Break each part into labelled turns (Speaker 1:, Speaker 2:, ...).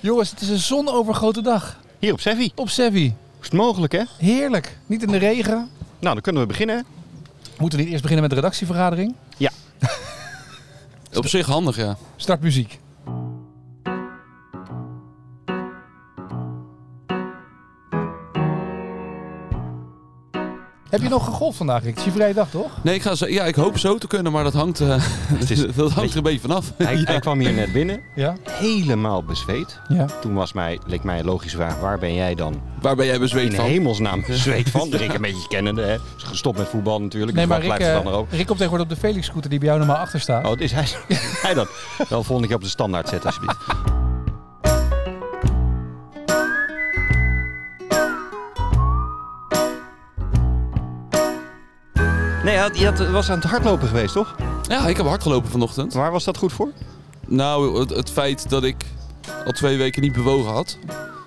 Speaker 1: Jongens, het is een zonovergoten dag.
Speaker 2: Hier op Sevi.
Speaker 1: Op Sevi.
Speaker 2: Is het mogelijk, hè?
Speaker 1: Heerlijk. Niet in de regen.
Speaker 2: Nou, dan kunnen we beginnen.
Speaker 1: Moeten we niet eerst beginnen met de redactievergadering?
Speaker 3: Op zich handig, ja.
Speaker 1: Start muziek. Heb je nog gegolfd vandaag, Rick? Het is je vrije dag, toch?
Speaker 3: Nee, ik, ga zo, ja, ik hoop zo te kunnen, maar dat hangt, eh,
Speaker 2: Het is-
Speaker 3: dat hangt er een beetje vanaf.
Speaker 2: Hij, hij kwam hier net binnen,
Speaker 1: Ja.
Speaker 2: helemaal bezweet.
Speaker 1: Ja.
Speaker 2: Toen was mij, leek mij een logische vraag, waar ben jij dan
Speaker 3: Waar ben jij bezweet
Speaker 2: in
Speaker 3: van?
Speaker 2: hemelsnaam bezweet van? Dus ik een beetje kennende, hè. Is gestopt met voetbal natuurlijk.
Speaker 1: Nee,
Speaker 2: dus
Speaker 1: maar
Speaker 2: wat
Speaker 1: Rick,
Speaker 2: blijft het
Speaker 1: eh,
Speaker 2: dan er ook?
Speaker 1: Rick komt tegenwoordig op de Felix-scooter die bij jou normaal achter staat.
Speaker 2: Oh, het is hij, hij dat. Dan volgende keer op de standaard zetten, alsjeblieft. Nee, je, had, je had- was aan het hardlopen geweest, toch?
Speaker 3: Ja, ik heb hard gelopen vanochtend.
Speaker 2: Waar was dat goed voor?
Speaker 3: Nou, het, het feit dat ik al twee weken niet bewogen had.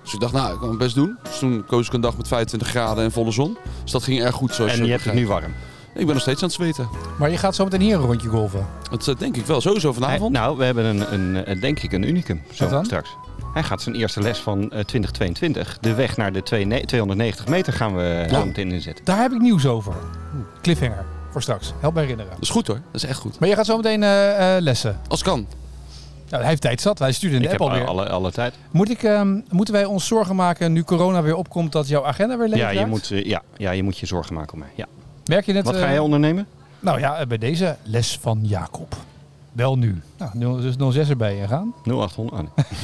Speaker 3: Dus ik dacht, nou, ik kan het best doen. Dus toen koos ik een dag met 25 graden en volle zon. Dus dat ging erg goed, zoals
Speaker 2: En je hebt het nu
Speaker 3: begrijpt.
Speaker 2: warm.
Speaker 3: Ik ben nog steeds aan het zweten.
Speaker 2: Oh.
Speaker 1: Maar je gaat zo meteen hier een rondje golven.
Speaker 3: Dat eh, denk ik wel, sowieso vanavond.
Speaker 2: Hij- nou, we hebben een, een, eh, denk ik een unicum zo
Speaker 1: Wat dan?
Speaker 2: straks. Hij gaat zijn eerste les van eh, 2022. De weg naar de twee- ne- 290 meter gaan we eh,
Speaker 1: Ja.
Speaker 2: zo meteen inzetten.
Speaker 1: Daar heb ik nieuws over. Cliffhanger. Voor straks. Help me herinneren.
Speaker 3: Dat is goed hoor, dat is echt goed.
Speaker 1: Maar je gaat zo meteen eh, eh, lessen.
Speaker 3: Als kan.
Speaker 1: Nou, hij heeft tijd zat. Hij stuurde in de
Speaker 2: Ik
Speaker 1: app
Speaker 2: heb eh,
Speaker 1: alweer.
Speaker 2: alle, alle, alle tijd.
Speaker 1: Moet ik, ehm, moeten wij ons zorgen maken nu corona weer opkomt dat jouw agenda weer leeg
Speaker 2: Ja je,
Speaker 1: raakt?
Speaker 2: moet, eh, ja, ja, je moet je zorgen maken om mij. Ja.
Speaker 1: Merk je net...
Speaker 2: Wat
Speaker 1: eh,
Speaker 2: ga jij ondernemen?
Speaker 1: Nou ja, eh, bij deze les van Jacob. Wel nu. Nou, 0- dus 06 erbij eh, gaan.
Speaker 2: 0800? Ah, nee.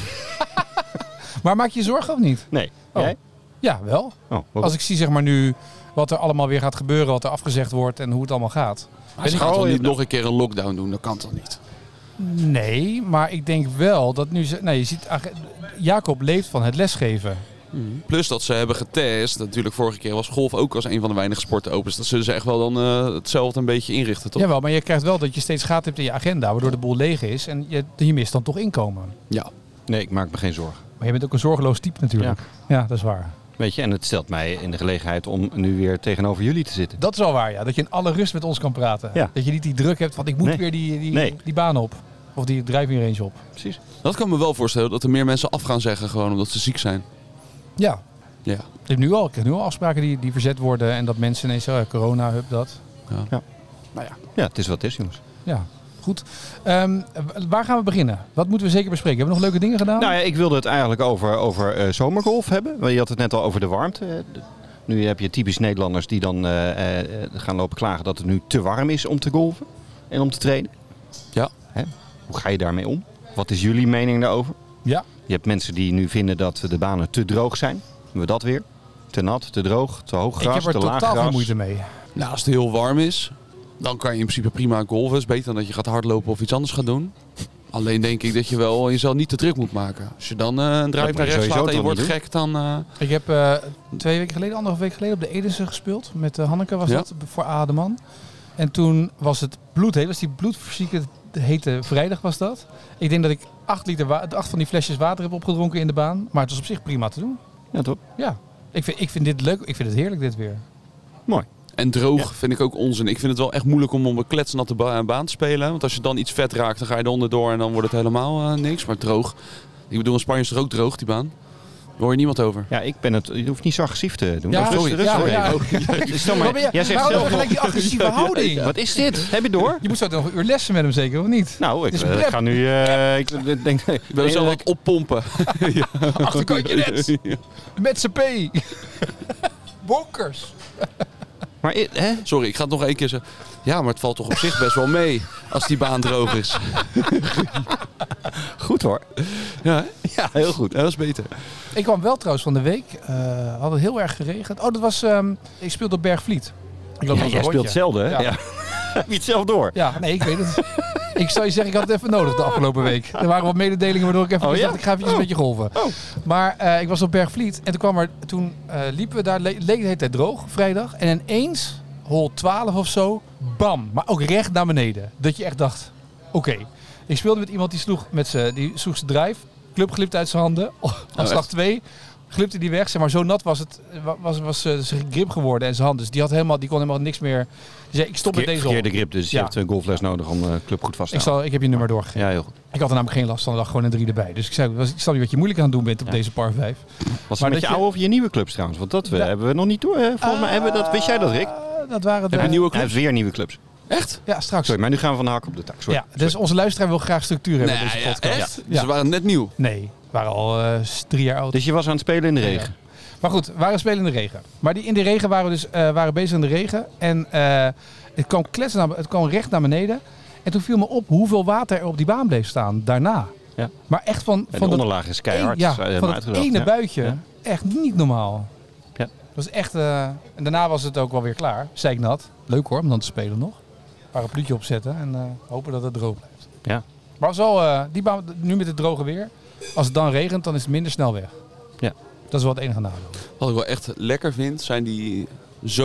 Speaker 1: Maar maak je je zorgen of niet?
Speaker 2: nee.
Speaker 1: Oh.
Speaker 2: Jij?
Speaker 1: Ja, wel.
Speaker 2: Oh, wat-
Speaker 1: Als ik zie zeg maar nu wat er allemaal weer gaat gebeuren, wat er afgezegd wordt en hoe het allemaal gaat.
Speaker 3: Hij
Speaker 2: ik
Speaker 3: gaat
Speaker 2: al
Speaker 3: toch
Speaker 2: in-
Speaker 3: niet nog een keer een lockdown doen, dat kan toch niet?
Speaker 1: Nee, maar ik denk wel dat nu... ze- Nou, je ziet, ag- Jacob leeft van het lesgeven.
Speaker 3: Plus dat ze hebben getest. Natuurlijk, vorige keer was golf ook als een van de weinige sporten open. Dus dat zullen ze echt wel dan eh, hetzelfde een beetje inrichten, toch?
Speaker 1: Jawel, maar je krijgt wel dat je steeds gaten hebt in je agenda, waardoor de boel leeg is en je, je mist dan toch inkomen.
Speaker 3: ja.
Speaker 2: Nee, ik maak me geen zorgen.
Speaker 1: Maar je bent ook een zorgeloos type natuurlijk. ja dat is waar.
Speaker 2: Weet je, en het stelt mij in de gelegenheid om nu weer tegenover jullie te zitten.
Speaker 1: Dat is wel waar, ja. Dat je in alle rust met ons kan praten.
Speaker 2: Ja.
Speaker 1: Dat je niet die druk hebt van ik moet
Speaker 2: Nee.
Speaker 1: weer die, die,
Speaker 2: Nee.
Speaker 1: die baan op. Of die driving range op.
Speaker 2: Precies.
Speaker 3: Dat kan me wel voorstellen dat er meer mensen af gaan zeggen gewoon omdat ze ziek zijn.
Speaker 1: Ja.
Speaker 3: Ja.
Speaker 1: Ik, heb nu al, ik krijg nu al afspraken die, die verzet worden en dat mensen ineens eh, corona, hup dat.
Speaker 2: Ja, het is wat het is, jongens.
Speaker 1: Ja, goed. Ehm, waar gaan we beginnen? Wat moeten we zeker bespreken? Hebben we nog leuke dingen gedaan?
Speaker 2: Nou ja, ik wilde het eigenlijk over, over eh, zomergolf hebben. Want Je had het net al over de warmte. Eh, de- Nu heb je typisch Nederlanders die dan eh, eh, eh, gaan lopen klagen dat het nu te warm is om te golven en om te trainen.
Speaker 3: Ja.
Speaker 2: Hè? Hoe ga je daarmee om? Wat is jullie mening daarover?
Speaker 1: Ja.
Speaker 2: Je hebt mensen die nu vinden dat de banen te droog zijn. Hebben we dat weer? Te nat, te droog, te hoog
Speaker 1: ik
Speaker 2: gras,
Speaker 1: heb er
Speaker 2: te laag
Speaker 1: totaal geen
Speaker 2: gras.
Speaker 1: moeite mee.
Speaker 3: Nou, als het heel warm is, dan kan je in principe prima golven. is beter dan dat je gaat hardlopen of iets anders gaat doen. Alleen denk ik dat je wel jezelf niet te druk moet maken. Als je dan eh een
Speaker 2: moet
Speaker 3: drive
Speaker 2: je
Speaker 3: naar rechts
Speaker 2: sowieso
Speaker 3: slaat en je
Speaker 2: toch
Speaker 3: wordt
Speaker 2: niet
Speaker 3: gek, dan... eh,
Speaker 1: Ik heb eh, twee weken geleden, anderhalf week geleden, op de Edense gespeeld. Met eh, Hanneke was
Speaker 3: Ja.
Speaker 1: dat, voor Ademan. En toen was het bloedheet, was die bloedfysieke hete vrijdag was dat. Ik denk dat ik acht, liter wa- acht van die flesjes water heb opgedronken in de baan. Maar het was op zich prima te doen.
Speaker 2: Ja, toch?
Speaker 1: Ja, ik vind, ik vind dit leuk. Ik vind het heerlijk dit weer.
Speaker 3: En droog vind ik ook onzin. Ik vind het wel echt moeilijk om op een kletsnatte ba- baan te spelen. Want als je dan iets vet raakt, dan ga je eronder door en dan wordt het helemaal eh, niks. Maar droog. Ik bedoel, in Spanje is er ook droog, die baan. Daar hoor je niemand over.
Speaker 2: Ja, ik ben het. Je hoeft niet zo agressief te doen. Oh,
Speaker 1: Ja,
Speaker 2: Of rustig,
Speaker 1: sorry.
Speaker 2: rustig
Speaker 1: Ja,
Speaker 2: even.
Speaker 1: ja.
Speaker 2: Stel maar,
Speaker 1: Waarom ben je-
Speaker 2: jij zegt
Speaker 1: waarom
Speaker 2: zelf
Speaker 1: gelijk
Speaker 2: nog,
Speaker 1: die agressieve houding?
Speaker 2: Wat is dit? Heb je door?
Speaker 1: Je moet zo nog een uur lessen met hem zeker, of niet?
Speaker 2: Nou, ik
Speaker 1: Het is
Speaker 2: eh,
Speaker 1: prep.
Speaker 2: ga nu. eh, ik eh, denk.
Speaker 3: Ik ben zelf wat oppompen.
Speaker 1: Achterkantje net. Met z'n P. Bonkers.
Speaker 2: Maar i- hè?
Speaker 3: Sorry, ik ga het nog één keer zeggen. Ja, maar het valt toch op zich best wel mee als die baan droog is.
Speaker 2: goed hoor.
Speaker 3: Ja, hè?
Speaker 2: Ja, heel goed.
Speaker 3: Ja, dat is beter.
Speaker 1: Ik kwam wel trouwens van de week. eh had het heel erg geregend. Oh, dat was... ehm, ik speelde op Bergvliet. Ik loop
Speaker 2: Ja,
Speaker 1: nog
Speaker 2: jij
Speaker 1: een
Speaker 2: speelt
Speaker 1: rondje.
Speaker 2: zelden, hè?
Speaker 1: Ja.
Speaker 2: Ja. Heb je het zelf door?
Speaker 1: Ja, nee, ik weet het. ik zou je zeggen, ik had het even nodig de afgelopen week. Er waren wat mededelingen waardoor ik even
Speaker 2: Oh, ja?
Speaker 1: dacht, ik ga eventjes een beetje golven.
Speaker 2: Oh.
Speaker 1: Maar eh, ik was op Bergvliet en toen, kwam er, toen eh, liepen we daar, le- leek de hele tijd droog, vrijdag. En ineens, hol 12 of zo, bam, maar ook recht naar beneden. Dat je echt dacht, oké.
Speaker 2: Oh,
Speaker 1: Ik speelde met iemand die sloeg met z'n- die sloeg zijn drive, club glipt uit zijn handen, op
Speaker 3: echt?
Speaker 1: slag 2. glipte die weg. Zeg maar, zo nat was, het, wa- was, was eh, zijn grip geworden en zijn hand. Dus die, had helemaal, die kon helemaal niks meer. Die zei, ik stop met deze
Speaker 2: Verkeerde
Speaker 1: hol.
Speaker 2: grip, dus je
Speaker 1: Ja.
Speaker 2: hebt een golfles nodig om de club goed vast te
Speaker 1: Ik,
Speaker 2: houden.
Speaker 1: zal, ik heb je nummer doorgegeven.
Speaker 2: Ja, heel goed.
Speaker 1: Ik had er namelijk geen last van, er lag gewoon een drie erbij. Dus ik zei, was- ik snap niet wat je moeilijk aan het doen bent op
Speaker 2: Ja.
Speaker 1: deze par 5.
Speaker 2: Was
Speaker 1: Maar
Speaker 2: het met
Speaker 1: dat
Speaker 2: je
Speaker 1: je-
Speaker 2: oude of je nieuwe clubs trouwens? Want dat eh,
Speaker 1: Ja.
Speaker 2: hebben we nog niet door. hè? Volgens mij hebben we dat... Wist jij dat, Rick?
Speaker 1: Eh, Dat waren de...
Speaker 3: Heb je nieuwe
Speaker 2: Hij
Speaker 3: clubs?
Speaker 2: heeft weer nieuwe clubs.
Speaker 3: Echt?
Speaker 1: Ja, straks.
Speaker 2: Sorry, maar nu gaan we van de hak op de tak. Sorry.
Speaker 1: Ja, dus onze luisteraar wil graag structuur hebben
Speaker 3: Nee,
Speaker 1: op deze
Speaker 3: ja,
Speaker 1: podcast.
Speaker 3: echt?
Speaker 1: Ja.
Speaker 3: Ze waren net nieuw.
Speaker 1: Nee, we waren al eh, s- drie jaar oud.
Speaker 2: Dus je was aan het spelen in de regen.
Speaker 1: Maar goed, we waren spelen in de regen. Maar die, in de regen waren we dus eh, waren bezig in de regen. En eh, het, kwam kletsen naar, het kwam recht naar beneden. En toen viel me op hoeveel water er op die baan bleef staan daarna.
Speaker 2: Ja.
Speaker 1: Maar echt van,
Speaker 2: En
Speaker 1: van
Speaker 2: de
Speaker 1: dat,
Speaker 2: onderlaag is keihard.
Speaker 1: ja,
Speaker 2: dat hebben we
Speaker 1: van het
Speaker 2: uitgedacht,
Speaker 1: ene
Speaker 2: ja.
Speaker 1: buitje.
Speaker 2: Ja.
Speaker 1: Echt niet normaal.
Speaker 2: Ja.
Speaker 1: Dat was echt, eh, en daarna was het ook wel weer klaar. Zei ik nat. Leuk hoor, om dan te spelen nog. Parapluutje opzetten en eh, hopen dat het droog blijft.
Speaker 2: Ja.
Speaker 1: Maar was wel, eh, die baan, nu met het droge weer. Als het dan regent, dan is het minder snel weg.
Speaker 2: Ja.
Speaker 1: Dat is wel het enige nadeel.
Speaker 3: Wat ik wel echt lekker vind, zijn die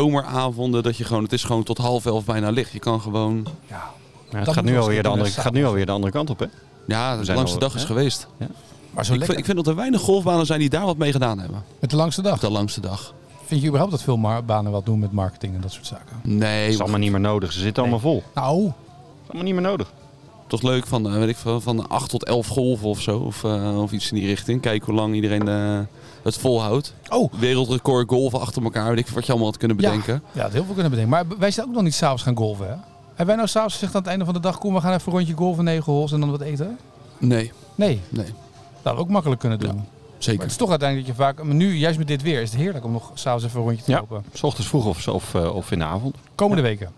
Speaker 3: zomeravonden dat je gewoon, het is gewoon tot half elf bijna licht. Je kan gewoon,
Speaker 1: Ja.
Speaker 2: Ja, het
Speaker 1: Dat
Speaker 2: gaat
Speaker 1: moeten
Speaker 2: nu,
Speaker 1: we eens
Speaker 2: alweer de
Speaker 1: doen,
Speaker 2: andere,
Speaker 1: hè,
Speaker 2: het gaat nu alweer de andere kant op, hè?
Speaker 3: ja, de
Speaker 2: zijn
Speaker 3: langste
Speaker 2: al-
Speaker 3: dag is
Speaker 2: hè?
Speaker 3: geweest.
Speaker 1: Maar zo
Speaker 3: Ik
Speaker 1: lekker.
Speaker 3: vind, ik vind dat er weinig golfbanen zijn die daar wat mee gedaan hebben.
Speaker 1: met de langste dag.
Speaker 3: Op de langste dag.
Speaker 1: Vind je überhaupt dat veel mar- banen wat doen met marketing en dat soort zaken?
Speaker 3: Nee,
Speaker 2: Het is allemaal niet meer nodig. Ze zitten allemaal vol. Het
Speaker 3: Oh.
Speaker 1: Nou,
Speaker 2: is allemaal niet meer nodig.
Speaker 3: toch leuk van, eh, weet ik, veel, van 8 tot 11 golven of zo. Of, eh, of iets in die richting. Kijken hoe lang iedereen eh, het volhoudt.
Speaker 1: oh.
Speaker 3: Wereldrecord golven achter elkaar. Weet ik veel wat je allemaal had kunnen bedenken.
Speaker 1: Ja, dat heel veel kunnen bedenken. Maar wij zijn ook nog niet s'avonds gaan golven, hè? Hebben wij nou s'avonds gezegd aan het einde van de dag... kom, we gaan even een rondje golven, negen holes en dan wat eten?
Speaker 3: Nee,
Speaker 1: Nee,
Speaker 3: nee,
Speaker 1: dat hadden we ook makkelijk kunnen doen. Maar
Speaker 3: zeker.
Speaker 1: het is toch uiteindelijk dat je vaak... Maar nu, juist met dit weer, is het heerlijk om nog s'avonds even een rondje te
Speaker 2: Ja.
Speaker 1: lopen.
Speaker 2: S ochtends vroeg of, of, eh, of in de avond.
Speaker 1: Komende weken.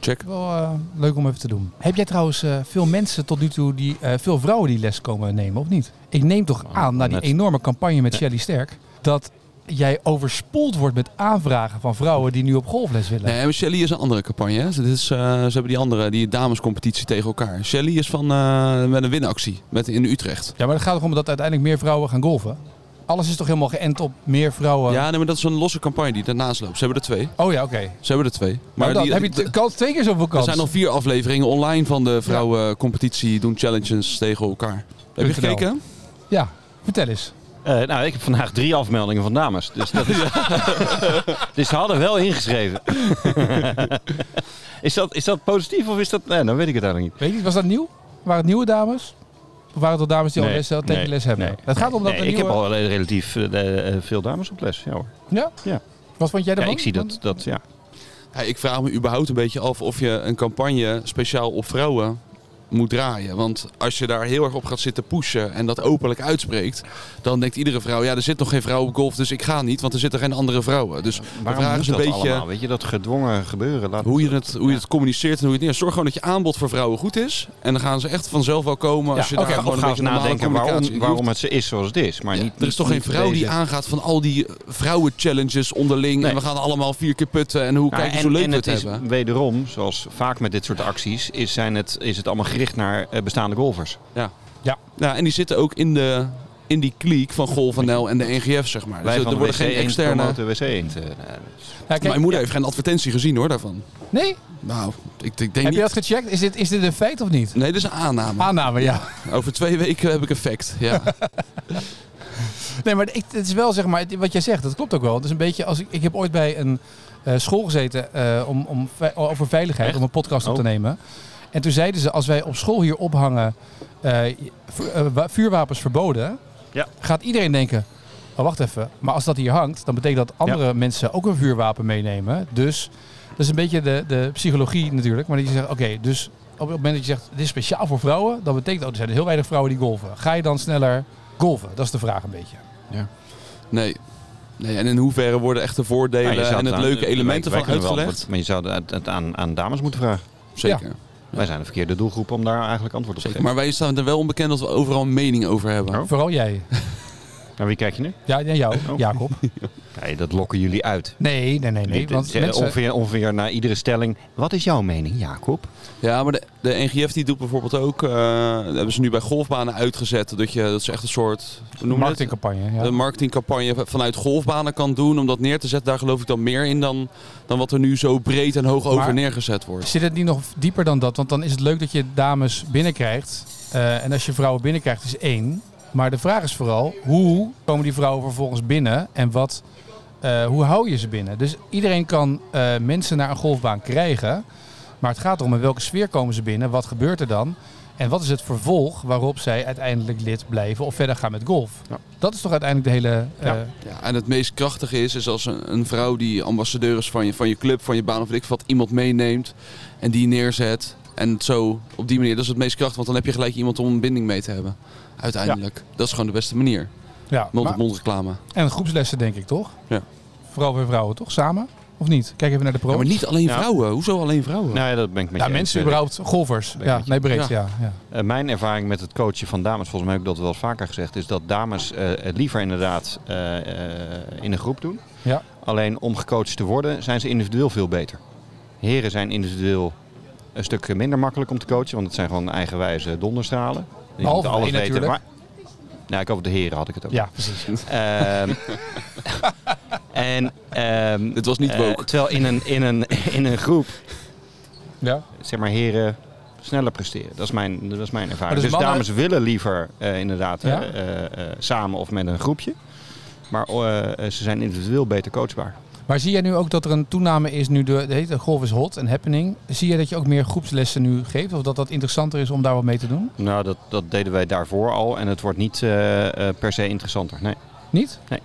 Speaker 3: Check.
Speaker 1: Wel eh, leuk om even te doen. Heb jij trouwens eh, veel mensen tot nu toe, die, eh, veel vrouwen die les komen nemen, of niet? Ik neem toch
Speaker 2: Oh,
Speaker 1: aan, na die
Speaker 2: net.
Speaker 1: enorme campagne met Shelly Sterk, dat jij overspoeld wordt met aanvragen van vrouwen die nu op golfles willen.
Speaker 3: Nee, maar Shelly is een andere campagne. Hè? Ze- Dit is, eh, ze hebben die andere, die damescompetitie tegen elkaar. Shelly is van, eh, met een winactie met, in Utrecht.
Speaker 1: Ja, maar het gaat erom dat uiteindelijk meer vrouwen gaan golven. Alles is toch helemaal geënt op meer vrouwen?
Speaker 3: Ja, nee, maar dat is een losse campagne die daarnaast loopt. Ze hebben er twee.
Speaker 1: Oh ja, oké.
Speaker 3: Ze hebben er twee.
Speaker 1: Maar dan
Speaker 3: die,
Speaker 1: heb je t- kans, twee keer zoveel
Speaker 3: er
Speaker 1: kans.
Speaker 3: zijn al vier afleveringen online van de vrouwencompetitie. Doen challenges tegen elkaar. Heb
Speaker 1: .nl.
Speaker 3: je gekeken?
Speaker 1: Ja, vertel eens.
Speaker 2: Eh, nou, ik heb vandaag drie afmeldingen van dames. Dus, dat is, dus ze hadden wel ingeschreven. is, dat, is dat positief of is dat... Nee, dan weet ik het eigenlijk niet.
Speaker 1: Weet je, was dat nieuw? Waren het nieuwe dames? Of waren het al dames die al
Speaker 2: Nee,
Speaker 1: les, al tegen
Speaker 2: nee,
Speaker 1: les hebben?
Speaker 2: nee.
Speaker 1: het gaat om dat
Speaker 2: Nee,
Speaker 1: er
Speaker 2: ik heb
Speaker 1: nieuwe-
Speaker 2: al eh, relatief eh, eh, veel dames op les. Ja, hoor.
Speaker 1: Ja?
Speaker 2: Ja.
Speaker 1: Wat vond jij
Speaker 2: ja
Speaker 1: daarvan?
Speaker 2: ik zie dat... dat ja.
Speaker 3: Ja, ik vraag me überhaupt een beetje af of je een campagne speciaal op vrouwen moet draaien. Want als je daar heel erg op gaat zitten pushen en dat openlijk uitspreekt, dan denkt iedere vrouw, ja, er zit nog geen vrouw op golf, dus ik ga niet, want er zitten geen andere vrouwen. Dus de
Speaker 2: Waarom
Speaker 3: vraag
Speaker 2: moet
Speaker 3: is een
Speaker 2: dat
Speaker 3: beetje
Speaker 2: allemaal? Weet je, dat gedwongen gebeuren. Laat
Speaker 3: hoe je, het, hoe je het communiceert en hoe je het neer. Zorg gewoon dat je aanbod voor vrouwen goed is. En dan gaan ze echt vanzelf wel komen als je
Speaker 2: Ja,
Speaker 3: daar
Speaker 2: oké,
Speaker 3: gewoon
Speaker 2: of ga
Speaker 3: een beetje
Speaker 2: eens
Speaker 3: normale
Speaker 2: nadenken waarom,
Speaker 3: communicatie-
Speaker 2: waarom het ze is zoals het is. Maar
Speaker 3: Ja,
Speaker 2: niet,
Speaker 3: er is toch geen vrouw die aangaat van al die eh, vrouwen-challenges onderling.
Speaker 2: Nee.
Speaker 3: En we gaan allemaal vier keer putten. En hoe kijk
Speaker 2: Nou, en,
Speaker 3: eens hoe leuk
Speaker 2: en
Speaker 3: we
Speaker 2: het
Speaker 3: het,
Speaker 2: is
Speaker 3: hebben.
Speaker 2: wederom, zoals vaak met dit soort acties, is, zijn het, is het allemaal gericht naar eh, bestaande golfers.
Speaker 3: Ja, en die zitten ook in, de, in die kliek van Golf NL en de NGF, zeg maar. Dus
Speaker 2: Wij
Speaker 3: er
Speaker 2: van de
Speaker 3: worden
Speaker 2: WC1
Speaker 3: geen externe...
Speaker 2: promoten WC1. eh, nou,
Speaker 1: Ja, kijk,
Speaker 3: Mijn moeder heeft geen advertentie gezien, hoor, daarvan.
Speaker 1: Nee?
Speaker 3: Nou, ik, ik denk
Speaker 1: Heb
Speaker 3: niet...
Speaker 1: je dat gecheckt? Is dit, is dit een feit of niet?
Speaker 3: Nee, dit is een aanname.
Speaker 1: Aanname, ja.
Speaker 3: Over twee weken heb ik effect, ja.
Speaker 1: Nee, maar ik, het is wel zeg maar, het- wat jij zegt, dat klopt ook wel. Het is een beetje als ik, ik heb ooit bij een eh, school gezeten eh, om, om, ve- over veiligheid,
Speaker 2: Echt?
Speaker 1: om een podcast op te
Speaker 2: Oh.
Speaker 1: nemen. En toen zeiden ze, als wij op school hier ophangen, eh, vu- eh, wa- vuurwapens verboden,
Speaker 2: Ja.
Speaker 1: gaat iedereen denken, oh wacht even, maar als dat hier hangt, dan betekent dat andere mensen ook een vuurwapen meenemen. Dus dat is een beetje de, de psychologie natuurlijk, maar die zegt, oké, dus op het moment dat je zegt, dit is speciaal voor vrouwen, dan betekent dat, oh, er zijn heel weinig vrouwen die golven. Ga je dan sneller golven? Dat is de vraag een beetje.
Speaker 3: Nee. nee. En in hoeverre worden echt de
Speaker 2: Nou, je
Speaker 3: voordelen
Speaker 2: zou
Speaker 3: en het
Speaker 2: aan-
Speaker 3: leuke
Speaker 2: wij-
Speaker 3: elementen
Speaker 2: wij
Speaker 3: van
Speaker 2: kunnen wel
Speaker 3: uitgelegd?
Speaker 2: antwoord- Maar je zou het het aan, aan dames moeten vragen.
Speaker 3: Zeker.
Speaker 2: Wij zijn de verkeerde doelgroep om daar eigenlijk antwoord op te
Speaker 3: Zeker.
Speaker 2: geven.
Speaker 3: Maar wij staan er wel onbekend dat we overal een mening over hebben.
Speaker 2: Oh.
Speaker 1: Vooral jij.
Speaker 2: Naar wie kijk je nu?
Speaker 1: Ja, en jou,
Speaker 2: Oh.
Speaker 1: Jacob.
Speaker 2: Nee, dat lokken jullie uit.
Speaker 1: Nee, nee, nee, nee.
Speaker 2: Dit-
Speaker 1: Want
Speaker 2: dit-
Speaker 1: mensen,
Speaker 2: ongeveer, ongeveer na iedere stelling. Wat is jouw mening, Jacob?
Speaker 3: Ja, maar de, de NGF die doet bijvoorbeeld ook... eh, dat hebben ze nu bij golfbanen uitgezet. Dat, je, dat is echt een soort... hoe noemen we het?
Speaker 1: marketingcampagne. Ja.
Speaker 3: een marketingcampagne vanuit golfbanen kan doen. Om dat neer te zetten, daar geloof ik dan meer in dan, dan wat er nu zo breed en hoog over
Speaker 1: Maar-
Speaker 3: neergezet wordt.
Speaker 1: Zit het niet nog dieper dan dat? Want dan is het leuk dat je dames binnenkrijgt. eh, en als je vrouwen binnenkrijgt, is één. Maar de vraag is vooral, hoe komen die vrouwen vervolgens binnen en wat, eh, hoe hou je ze binnen? Dus iedereen kan eh, mensen naar een golfbaan krijgen, maar het gaat erom in welke sfeer komen ze binnen, wat gebeurt er dan? En wat is het vervolg waarop zij uiteindelijk lid blijven of verder gaan met golf?
Speaker 2: Ja.
Speaker 1: Dat is toch uiteindelijk de hele... eh,
Speaker 2: Ja.
Speaker 3: Ja, en het meest krachtige is, is als een, een vrouw die ambassadeur is van je, van je club, van je baan of weet ik wat, iemand meeneemt en die neerzet. En het zo, op die manier, dat is het meest krachtige, want dan heb je gelijk iemand om een binding mee te hebben. Uiteindelijk. Dat is gewoon de beste manier.
Speaker 1: ja, maar-
Speaker 3: Mond-op-mond reclame.
Speaker 1: En groepslessen denk ik toch?
Speaker 3: Ja.
Speaker 1: Vooral bij vrouwen toch? Samen? Of niet? Kijk even naar de pro.
Speaker 3: Ja, maar niet alleen
Speaker 2: Ja.
Speaker 3: vrouwen. Hoezo alleen vrouwen?
Speaker 2: Nou ja, dat ben ik met
Speaker 1: ja,
Speaker 2: je eens,
Speaker 1: mensen
Speaker 2: eh,
Speaker 1: überhaupt, golfers.
Speaker 2: Ben ik
Speaker 1: Ja,
Speaker 2: met je.
Speaker 1: nee, breed, ja. ja.
Speaker 2: Eh, mijn ervaring met het coachen van dames, volgens mij heb ik dat wel eens vaker gezegd, is dat dames eh, het liever inderdaad eh, eh, in een groep doen.
Speaker 1: Ja.
Speaker 2: Alleen om gecoacht te worden zijn ze individueel veel beter. Heren zijn individueel een stuk minder makkelijk om te coachen, want het zijn gewoon eigenwijze donderstralen. Die moeten
Speaker 1: Behalve wij natuurlijk.
Speaker 2: waar- Nou, ik over de heren had ik het ook.
Speaker 1: Ja, precies.
Speaker 2: Ehm, en, ehm,
Speaker 3: Dit was niet
Speaker 2: eh,
Speaker 3: woke.
Speaker 2: terwijl in een, in, een, in een groep,
Speaker 1: Ja.
Speaker 2: zeg maar, heren sneller presteren. Dat is mijn, dat is mijn ervaring.
Speaker 1: dus
Speaker 2: dus
Speaker 1: mannen-
Speaker 2: dames willen liever eh, inderdaad
Speaker 1: Ja?
Speaker 2: eh, eh, eh, samen of met een groepje. Maar eh, eh, ze zijn individueel beter coachbaar.
Speaker 1: Maar zie jij nu ook dat er een toename is nu de, de hele golf is hot en happening. Zie jij dat je ook meer groepslessen nu geeft? Of dat dat interessanter is om daar wat mee te doen?
Speaker 2: Nou, dat, dat deden wij daarvoor al. En het wordt niet eh, eh, per se interessanter. Nee.
Speaker 1: Niet?
Speaker 2: Nee.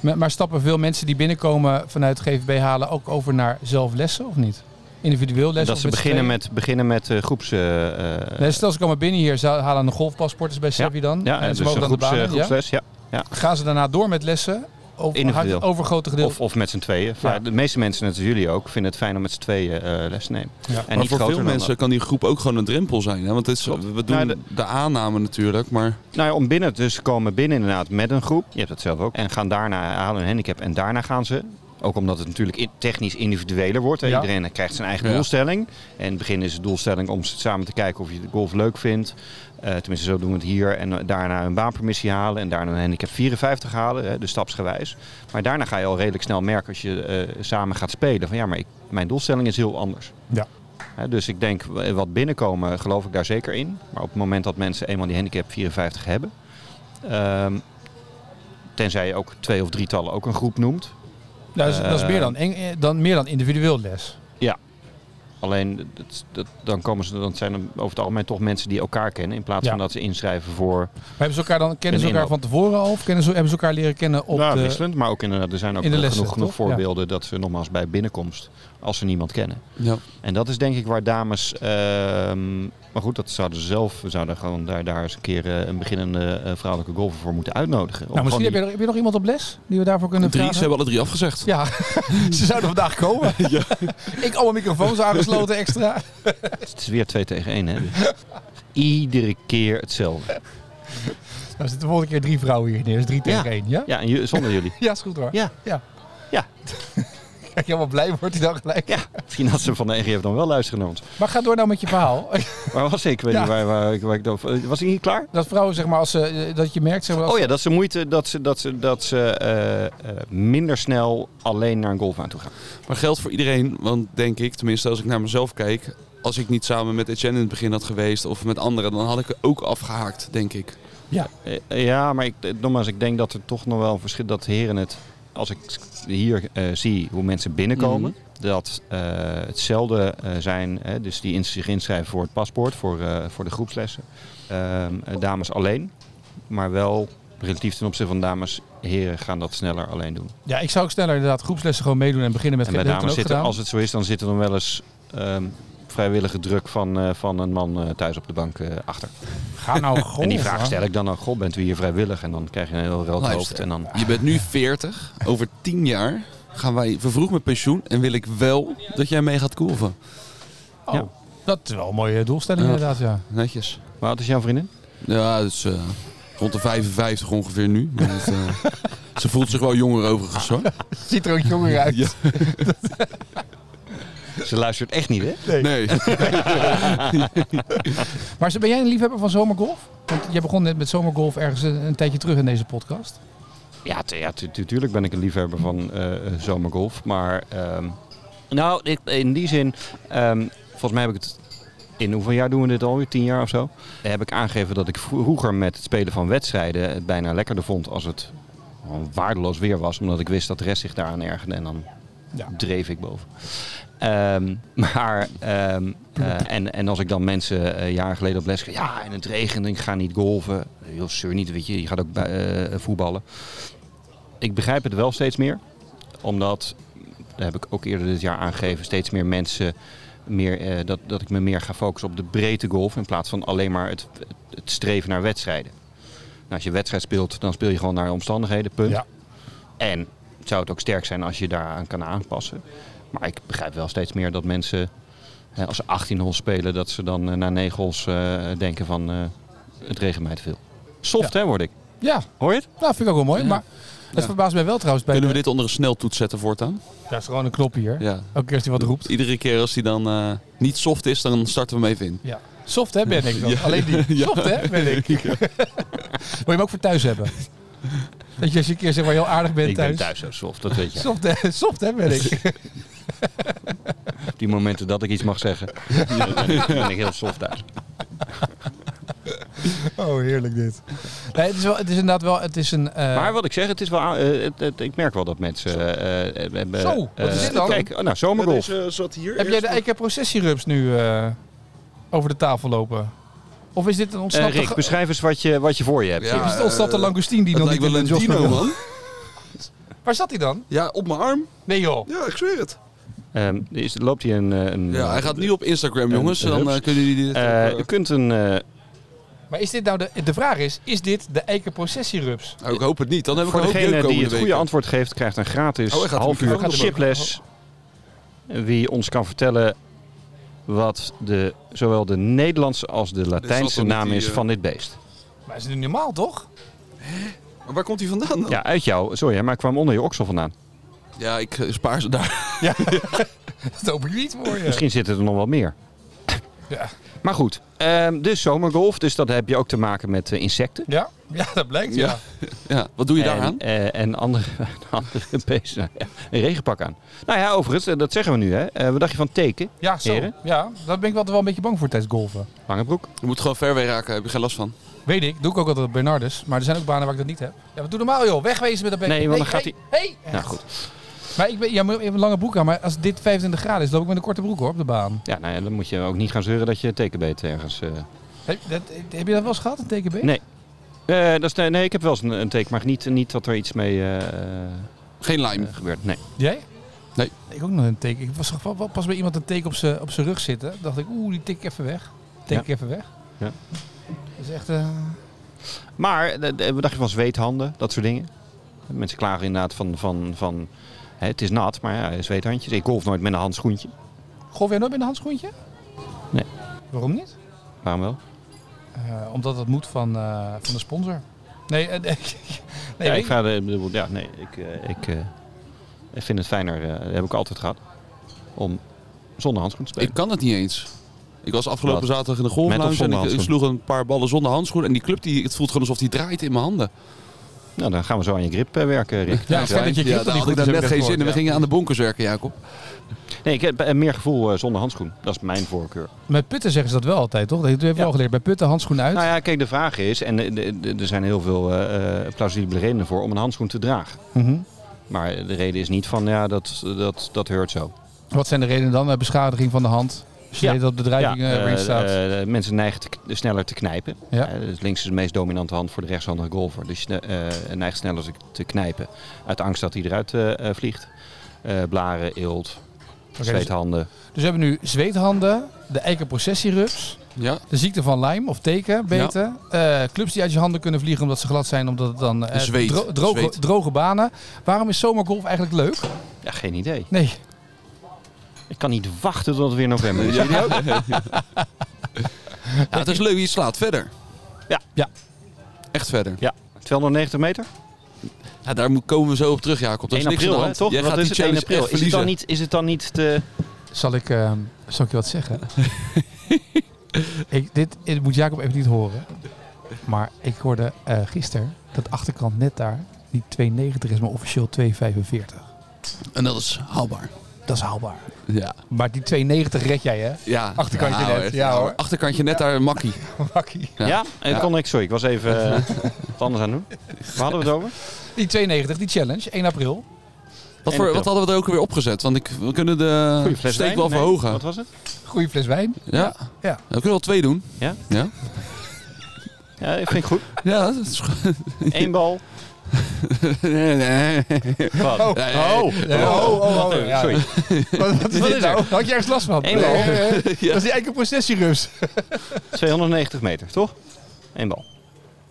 Speaker 1: Maar, maar stappen veel mensen die binnenkomen vanuit GVB halen ook over naar zelf lessen of niet? Individueel lessen?
Speaker 2: dat
Speaker 1: of
Speaker 2: ze beginnen met, beginnen met eh, groeps... eh, eh,
Speaker 1: Nee, stel ze komen binnen hier, ze halen een golfpaspoort is bij Sebi dan.
Speaker 2: ja,
Speaker 1: en
Speaker 2: dus
Speaker 1: ze
Speaker 2: een
Speaker 1: mogen dan de
Speaker 2: groeps,
Speaker 1: baan
Speaker 2: eh,
Speaker 1: in, ja?
Speaker 2: groepsles. Ja.
Speaker 1: Gaan ze daarna door met lessen? Of
Speaker 2: Individueel.
Speaker 1: het overgrote gedeelte?
Speaker 2: Of, of met z'n tweeën.
Speaker 1: Ja.
Speaker 2: De meeste mensen, net als jullie ook, vinden het fijn om met z'n tweeën eh, les te nemen.
Speaker 1: Ja. Maar
Speaker 2: En
Speaker 3: maar
Speaker 2: niet
Speaker 3: voor
Speaker 2: groter
Speaker 3: veel
Speaker 2: dan
Speaker 3: mensen kan die groep ook gewoon een drempel zijn. Hè? Want het is,
Speaker 2: Klopt.
Speaker 3: we doen
Speaker 2: Nou,
Speaker 3: de...
Speaker 2: de-
Speaker 3: aanname natuurlijk, maar
Speaker 2: Nou ja, om binnen dus ze komen binnen inderdaad met een groep. Je hebt dat zelf ook. En gaan daarna halen een handicap. En daarna gaan ze, ook omdat het natuurlijk i- technisch individueler wordt. hè.
Speaker 1: Ja.
Speaker 2: Iedereen krijgt zijn eigen
Speaker 3: Ja.
Speaker 2: doelstelling. En in het begin is de doelstelling om s- samen te kijken of je de golf leuk vindt. Eh, tenminste, zo doen we het hier. En eh, daarna een baanpermissie halen. En daarna een handicap 54 halen. Hè, dus stapsgewijs. Maar daarna ga je al redelijk snel merken als je eh, samen gaat spelen. Van ja, maar ik, mijn doelstelling is heel anders.
Speaker 1: Ja.
Speaker 2: Hè, dus ik denk, w- wat binnenkomen geloof ik daar zeker in. Maar op het moment dat mensen eenmaal die handicap 54 hebben. ehm, tenzij je ook twee of drietallen ook een groep noemt.
Speaker 1: Nou, dat, is, dat is meer
Speaker 2: Eh,
Speaker 1: dan, eng- eh, dan, meer dan individueel les.
Speaker 2: Alleen dat, dat, dan, komen ze, dan zijn er over het algemeen toch mensen die elkaar kennen. In plaats
Speaker 1: Ja.
Speaker 2: van dat ze inschrijven voor.
Speaker 1: Maar hebben ze elkaar dan kennen ze
Speaker 2: Een
Speaker 1: elkaar van tevoren al? Of kennen ze, hebben ze elkaar leren kennen op
Speaker 2: nou,
Speaker 1: de...
Speaker 2: wisselend. Maar ook inderdaad, er zijn ook
Speaker 1: in de
Speaker 2: genoeg,
Speaker 1: lessen,
Speaker 2: genoeg
Speaker 1: toch?
Speaker 2: voorbeelden dat ze nogmaals bij binnenkomst. als ze niemand kennen.
Speaker 3: ja.
Speaker 2: En dat is denk ik waar dames. ehm, maar goed, dat zouden ze zelf. We zouden gewoon daar, daar eens een keer eh, een beginnende eh, vrouwelijke golfer voor moeten uitnodigen. Om
Speaker 1: Nou, misschien
Speaker 2: gewoon
Speaker 1: heb, je, nog- heb je nog iemand op les die we daarvoor kunnen
Speaker 3: drie, ze
Speaker 1: vragen?
Speaker 3: hebben alle drie afgezegd.
Speaker 1: Ja, ze zouden vandaag komen. Ik alle microfoons aangesloten extra.
Speaker 2: die- Het is weer 2 tegen 1, hè? Iedere keer hetzelfde.
Speaker 1: Nou, er zitten de volgende keer drie vrouwen hier neer. Dus drie tegen
Speaker 2: Ja.
Speaker 1: één, ja?
Speaker 2: Ja, en ju- zonder jullie.
Speaker 1: Ja, is goed hoor.
Speaker 2: Ja.
Speaker 1: Ja.
Speaker 2: Ja.
Speaker 1: Kijk, helemaal blij wordt hij dan gelijk.
Speaker 2: Ja, misschien had ze van de EGF dan wel luisteren naar ons.
Speaker 1: Maar ga door nou met je verhaal.
Speaker 2: Waar was ik? Ik Weet
Speaker 1: Ja.
Speaker 2: niet waar, waar, ik- waar ik dan- was ik niet klaar?
Speaker 1: Dat vrouwen, zeg maar, als ze, eh, dat je merkt, zeg maar, als
Speaker 2: Oh ja, dat ze moeite dat ze, dat ze, dat ze eh, eh, minder snel alleen naar een golfbaan toe gaan.
Speaker 3: Maar geldt voor iedereen, want denk ik, tenminste als ik naar mezelf kijk... Als ik niet samen met Etienne in het begin had geweest of met anderen, dan had ik er ook afgehaakt, denk ik.
Speaker 2: Eh, Ja, maar ik, eh, nogmaals, ik denk dat er toch nog wel een verschil dat heren het. Als ik hier eh, zie hoe mensen binnenkomen, dat eh, hetzelfde eh, zijn. Hè, dus die in, zich inschrijven voor het paspoort, voor, eh, voor de groepslessen. Ehm, eh, dames alleen, maar wel relatief ten opzichte van dames, heren gaan dat sneller alleen doen.
Speaker 1: Ja, ik zou ook sneller inderdaad groepslessen gewoon meedoen en beginnen met
Speaker 2: en bij
Speaker 1: dat heb ik
Speaker 2: dames
Speaker 1: toen ook
Speaker 2: zitten,
Speaker 1: gedaan.
Speaker 2: als het zo is, dan zit er dan wel eens ehm, vrijwillige druk van, eh, van een man eh, thuis op de bank eh, achter.
Speaker 1: Ga nou gewoon.
Speaker 2: en die vraag stel ik dan ook, god, bent u hier vrijwillig? En dan krijg je een heel rood
Speaker 3: Luister.
Speaker 2: hoofd. En dan,
Speaker 3: Je bent nu 40. Over 10 jaar gaan wij vervroegd met pensioen. En wil ik wel dat jij mee gaat golven.
Speaker 1: Oh,
Speaker 2: Ja.
Speaker 1: Dat is wel een mooie doelstelling
Speaker 3: Ja.
Speaker 1: inderdaad, ja.
Speaker 3: Netjes.
Speaker 2: maar wat is jouw vriendin?
Speaker 3: Ja, dus eh, rond de 55 ongeveer nu. Maar het, eh, ze voelt zich wel jonger overigens hoor.
Speaker 1: Ziet er ook jonger uit.
Speaker 3: Ja.
Speaker 2: Ze luistert echt niet, hè?
Speaker 3: Nee.
Speaker 1: Maar ben jij een liefhebber van zomergolf? Want jij begon net met zomergolf ergens een, een tijdje terug in deze podcast.
Speaker 2: Ja, tu- ja tu- tu- tuurlijk ben ik een liefhebber van eh, eh, zomergolf. Maar ehm, nou, ik- in die zin, ehm, volgens mij heb ik het in hoeveel jaar doen we dit alweer? Tien jaar of zo? Eh, Heb ik aangegeven dat ik vroeger met het spelen van wedstrijden het bijna lekkerder vond als het gewoon waardeloos weer was. Omdat ik wist dat de rest zich daaraan ergerde en dan
Speaker 1: Ja.
Speaker 2: dreef ik boven. Ehm, maar, ehm, eh, en, en als ik dan mensen eh, jaren geleden op les kreeg, ja, en het regent, en ik ga niet golven. Heel zeur niet, weet je, je gaat ook bij- eh, voetballen. Ik begrijp het wel steeds meer, omdat, dat heb ik ook eerder dit jaar aangegeven, steeds meer mensen, meer, eh, dat, dat ik me meer ga focussen op de breedte golf in plaats van alleen maar het, het streven naar wedstrijden. Nou, als je wedstrijd speelt, dan speel je gewoon naar omstandigheden, punt.
Speaker 1: Ja.
Speaker 2: En het zou het ook sterk zijn als je daaraan kan aanpassen. Maar ik begrijp wel steeds meer dat mensen, hè, als ze 18 hols spelen, dat ze dan eh, na 9 hols eh, denken van eh, het regent mij te veel. Soft hè, word ik.
Speaker 1: ja,
Speaker 2: Hoor je het?
Speaker 1: nou vind ik ook wel mooi.
Speaker 3: Ja.
Speaker 1: Maar het
Speaker 3: Ja.
Speaker 1: verbaast mij wel trouwens bij
Speaker 3: Kunnen we
Speaker 1: de-
Speaker 3: dit onder een sneltoets zetten voortaan?
Speaker 1: Daar is gewoon een knop hier.
Speaker 3: Ja.
Speaker 1: Elke keer als hij wat roept.
Speaker 3: Iedere keer als hij dan eh, niet soft is, dan starten we hem even in.
Speaker 1: Ja. Soft hè ben ik dan.
Speaker 3: Ja.
Speaker 1: Alleen die.
Speaker 3: Ja.
Speaker 1: Soft hè ben ik. Wil je hem ook voor thuis hebben? Dat je als je een keer zeg maar heel aardig bent
Speaker 2: ik
Speaker 1: thuis.
Speaker 2: ben thuis zo soft, dat weet je.
Speaker 1: Soft hè, soft hè ben ik.
Speaker 2: Op die momenten dat ik iets mag zeggen, ben ik heel soft thuis.
Speaker 1: Oh, heerlijk dit. Nee, het, is wel, het is inderdaad wel, het is een... eh,
Speaker 2: Maar wat ik zeg, het is wel, aan- eh, het- het- ik merk wel dat mensen... eh, eh, hebben,
Speaker 1: Zo, wat is
Speaker 2: eh,
Speaker 1: dit dan? eh,
Speaker 2: Kijk, oh, nou, zomergolf.
Speaker 4: zat hier
Speaker 1: heb jij de eikenprocessierups nu eh, over de tafel lopen? Of is dit een
Speaker 2: Eh,
Speaker 1: ontsnapte...
Speaker 2: Rick,
Speaker 1: ga-
Speaker 2: beschrijf eens wat je, wat je voor je hebt.
Speaker 3: Ja.
Speaker 1: is het ontsnapte
Speaker 3: eh,
Speaker 1: langoustine die
Speaker 3: Dat
Speaker 1: nog
Speaker 3: lijkt
Speaker 1: niet
Speaker 3: wel
Speaker 1: in
Speaker 3: een
Speaker 1: de Josper
Speaker 3: dino,
Speaker 1: wil?
Speaker 3: man.
Speaker 1: Waar zat hij dan?
Speaker 3: Ja, op mijn arm.
Speaker 1: Nee joh.
Speaker 4: Ja, ik zweer het.
Speaker 2: Ehm, is, loopt hij een... eh, een
Speaker 3: Ja, hij gaat nu op Instagram,
Speaker 2: En
Speaker 3: jongens. Dan
Speaker 2: hups.
Speaker 3: eh, kunnen jullie dit...
Speaker 2: Eh,
Speaker 3: ook,
Speaker 2: je kunt een... eh,
Speaker 1: Maar is dit nou de... De vraag is, is dit de eikenprocessierups?
Speaker 3: eh, ik hoop het niet. Dan heb ik
Speaker 2: Voor
Speaker 3: een hoop jeuk
Speaker 2: degene die
Speaker 3: komende
Speaker 2: het goede
Speaker 3: weken.
Speaker 2: antwoord geeft, krijgt een gratis
Speaker 4: Oh, hij gaat
Speaker 2: half
Speaker 4: hem-
Speaker 2: uur
Speaker 1: hij gaat hem
Speaker 2: chiples. Wie ons kan vertellen wat de, zowel de Nederlandse als de
Speaker 4: zal
Speaker 2: Latijnse
Speaker 4: toch niet
Speaker 2: naam
Speaker 4: die,
Speaker 2: is
Speaker 4: eh,
Speaker 2: van dit beest.
Speaker 1: Maar is het nu normaal toch?
Speaker 4: Maar waar komt hij vandaan dan?
Speaker 2: Ja, uit jou. Sorry, hè, maar ik kwam onder je oksel vandaan.
Speaker 3: Ja, ik eh, spaar ze daar.
Speaker 1: Dat hoop ik niet voor je.
Speaker 2: Misschien zitten er nog wel meer.
Speaker 1: Ja.
Speaker 2: Maar goed, ehm, dus zomergolf. Dus dat heb je ook te maken met eh, insecten.
Speaker 1: Ja? Ja, dat blijkt ja.
Speaker 3: Ja. Ja, wat doe je
Speaker 2: en,
Speaker 3: daaraan?
Speaker 2: eh, en andere, andere beesten. Een regenpak aan. Nou ja, overigens, eh, dat zeggen we nu. Hè. Eh, wat dacht je van teken?
Speaker 1: Ja, zo.
Speaker 2: Heren?
Speaker 1: Ja, daar ben ik wel, wel een beetje bang voor tijdens golven.
Speaker 2: Lange broek.
Speaker 3: Je moet gewoon ver weg raken, heb je geen last van.
Speaker 1: Weet ik, doe ik ook altijd op Bernardus. Maar er zijn ook banen waar ik dat niet heb. Ja, wat doe normaal joh. Wegwezen met dat bek.
Speaker 2: Nee, want dan
Speaker 1: Hey,
Speaker 2: gaat
Speaker 1: hey,
Speaker 2: hij-
Speaker 1: Hey,
Speaker 2: Nou goed.
Speaker 1: Maar ik ben, ja, maar even lange broek aan, maar als dit 25 graden is, loop ik met een korte broek hoor, op de baan.
Speaker 2: Ja, nou ja, dan moet je ook niet gaan zeuren dat je tekenbeet ergens. eh.
Speaker 1: Heb, dat, heb je dat wel eens gehad, een TKB?
Speaker 2: Nee. Eh, dat is, nee, nee, ik heb wel eens een, een teken, maar niet, niet dat er iets mee eh, eh,
Speaker 3: Geen lime.
Speaker 2: gebeurt. Nee.
Speaker 1: Jij?
Speaker 3: Nee.
Speaker 1: Ik ook nog een teken. Ik was toch wel- wel pas bij iemand een teken op zijn op zijn rug zitten. dacht ik, oeh, die tik ik even weg. Tik
Speaker 2: Ja.
Speaker 1: ik even weg.
Speaker 2: Ja.
Speaker 1: Dat is echt... eh,
Speaker 2: Maar eh, eh, wat dacht je van zweethanden, dat soort dingen? Mensen klagen inderdaad van, van, van hè, het is nat, maar ja, zweethandjes. Ik golf nooit met een handschoentje.
Speaker 1: Golf jij nooit met een handschoentje?
Speaker 2: Nee.
Speaker 1: Waarom niet?
Speaker 2: Waarom wel?
Speaker 1: Eh, omdat dat moet van, eh, van de sponsor. Nee, eh, nee, nee,
Speaker 2: ja,
Speaker 1: weet
Speaker 2: ik ga, de, bedoel, ja, nee, ik, eh, ik eh, ik vind het fijner, eh, dat heb ik altijd gehad, om zonder handschoen te spelen.
Speaker 3: Ik kan het niet eens. Ik was afgelopen
Speaker 2: Wat?
Speaker 3: zaterdag in de
Speaker 2: Met of
Speaker 3: golflounge en
Speaker 2: zonder
Speaker 3: ik, ik
Speaker 2: handschoen?
Speaker 3: sloeg een paar ballen zonder handschoen. En die club, die, het voelt gewoon alsof die draait in mijn handen.
Speaker 2: Nou, dan gaan we zo aan je grip eh, werken, Rick.
Speaker 1: Ja, ik vind dat je grip
Speaker 3: ja,
Speaker 1: er niet
Speaker 3: daar had ik
Speaker 1: goed dus
Speaker 3: net
Speaker 1: in hebt
Speaker 3: geen zin in. We
Speaker 1: gehoord,
Speaker 3: gingen aan de bonkers werken, Jacob.
Speaker 2: Nee, ik heb eh, meer gevoel eh, zonder handschoen. Dat is mijn voorkeur.
Speaker 1: Met putten zeggen ze dat wel altijd, toch? Dat heb je wel geleerd. Bij putten handschoen uit.
Speaker 2: Nou ja, kijk, de vraag is, en eh, de- de- er zijn heel veel eh, eh, plausibele redenen voor, om een handschoen te dragen.
Speaker 1: Mhm.
Speaker 2: Maar de reden is niet van, ja, dat, dat, dat heurt zo.
Speaker 1: Wat zijn de redenen dan? Eh, Beschadiging van de hand. Als je
Speaker 2: Ja.
Speaker 1: weet dat bedrijving
Speaker 2: Ja,
Speaker 1: eh, erin
Speaker 2: eh,
Speaker 1: staat.
Speaker 2: eh, mensen neigen te k- sneller te knijpen.
Speaker 1: Ja.
Speaker 2: Eh, dus links is de meest dominante hand voor de rechtshandige golfer. Dus je eh, neigt sneller te, te knijpen. Uit angst dat hij eruit eh, eh, vliegt. Eh, blaren, eelt,
Speaker 1: Oké, dus,
Speaker 2: zweethanden.
Speaker 1: dus we hebben nu zweethanden, de eikenprocessierups,
Speaker 3: Ja,
Speaker 1: de ziekte van Lyme of teken, beter. eh, clubs die uit je handen kunnen vliegen omdat ze glad zijn, omdat het dan eh,
Speaker 3: Zweet.
Speaker 1: dro- droge,
Speaker 3: Zweet.
Speaker 1: droge banen. Waarom is zomergolf eigenlijk leuk?
Speaker 2: Ja, geen idee.
Speaker 1: Nee,
Speaker 2: Ik kan niet wachten tot het weer november is.
Speaker 3: ja het is leuk. Je slaat verder.
Speaker 2: Ja.
Speaker 1: Ja.
Speaker 3: Echt verder.
Speaker 2: 290 meter?
Speaker 3: Ja, daar moet- komen we zo op terug, Jacob. Dat is
Speaker 2: 1
Speaker 3: niks aan
Speaker 2: april,
Speaker 3: de
Speaker 2: hè,
Speaker 3: hand.
Speaker 2: toch?
Speaker 3: Jij
Speaker 2: Wat
Speaker 3: gaat
Speaker 2: is
Speaker 3: die
Speaker 2: het 1
Speaker 3: challenge
Speaker 2: april?
Speaker 3: echt
Speaker 2: Is het, dan
Speaker 3: verliezen.
Speaker 2: niet, is het dan niet te...
Speaker 1: zal ik, eh, zal ik je wat zeggen? ik, dit, dit moet Jacob even niet horen. Maar ik hoorde eh gisteren dat achterkant net daar, die 2,90 is, maar officieel 2,45.
Speaker 3: En dat is haalbaar.
Speaker 1: dat is haalbaar.
Speaker 3: Ja.
Speaker 1: Maar die 290 red jij, hè?
Speaker 3: ja.
Speaker 1: Achterkantje
Speaker 3: Nou,
Speaker 1: net.
Speaker 3: het-
Speaker 1: Ja, hoor.
Speaker 3: Achterkantje net daar, makkie.
Speaker 1: Makkie.
Speaker 2: Ja,
Speaker 3: Ja.
Speaker 2: eh, dat kon ik. Sorry, ik was even eh, wat anders aan het doen. Waar hadden we het over?
Speaker 1: Die 290, die challenge, 1 april.
Speaker 3: Wat, voor, wat hadden we er ook weer opgezet? Want ik, we kunnen de
Speaker 2: Goeie fles
Speaker 3: steek
Speaker 2: wijn.
Speaker 3: wel
Speaker 2: Nee,
Speaker 3: verhogen.
Speaker 2: Wat was het?
Speaker 1: Goeie fles wijn.
Speaker 3: Ja.
Speaker 1: Ja.
Speaker 3: We kunnen wel twee doen.
Speaker 2: Ja?
Speaker 3: Ja,
Speaker 2: Ja, ik vind ik goed.
Speaker 3: ja dat is goed.
Speaker 2: Eén bal.
Speaker 3: nee, nee.
Speaker 2: Wat? Oh,
Speaker 1: oh, oh, oh,
Speaker 2: eh,
Speaker 1: ja.
Speaker 2: sorry.
Speaker 1: Wat, wat is
Speaker 2: Wat
Speaker 1: dit
Speaker 2: is
Speaker 1: nou? Had je ergens last van?
Speaker 2: Eén bal.
Speaker 1: Eh, eh, eh. Dat is die eigen processierups.
Speaker 2: 290 meter, toch? Eén bal.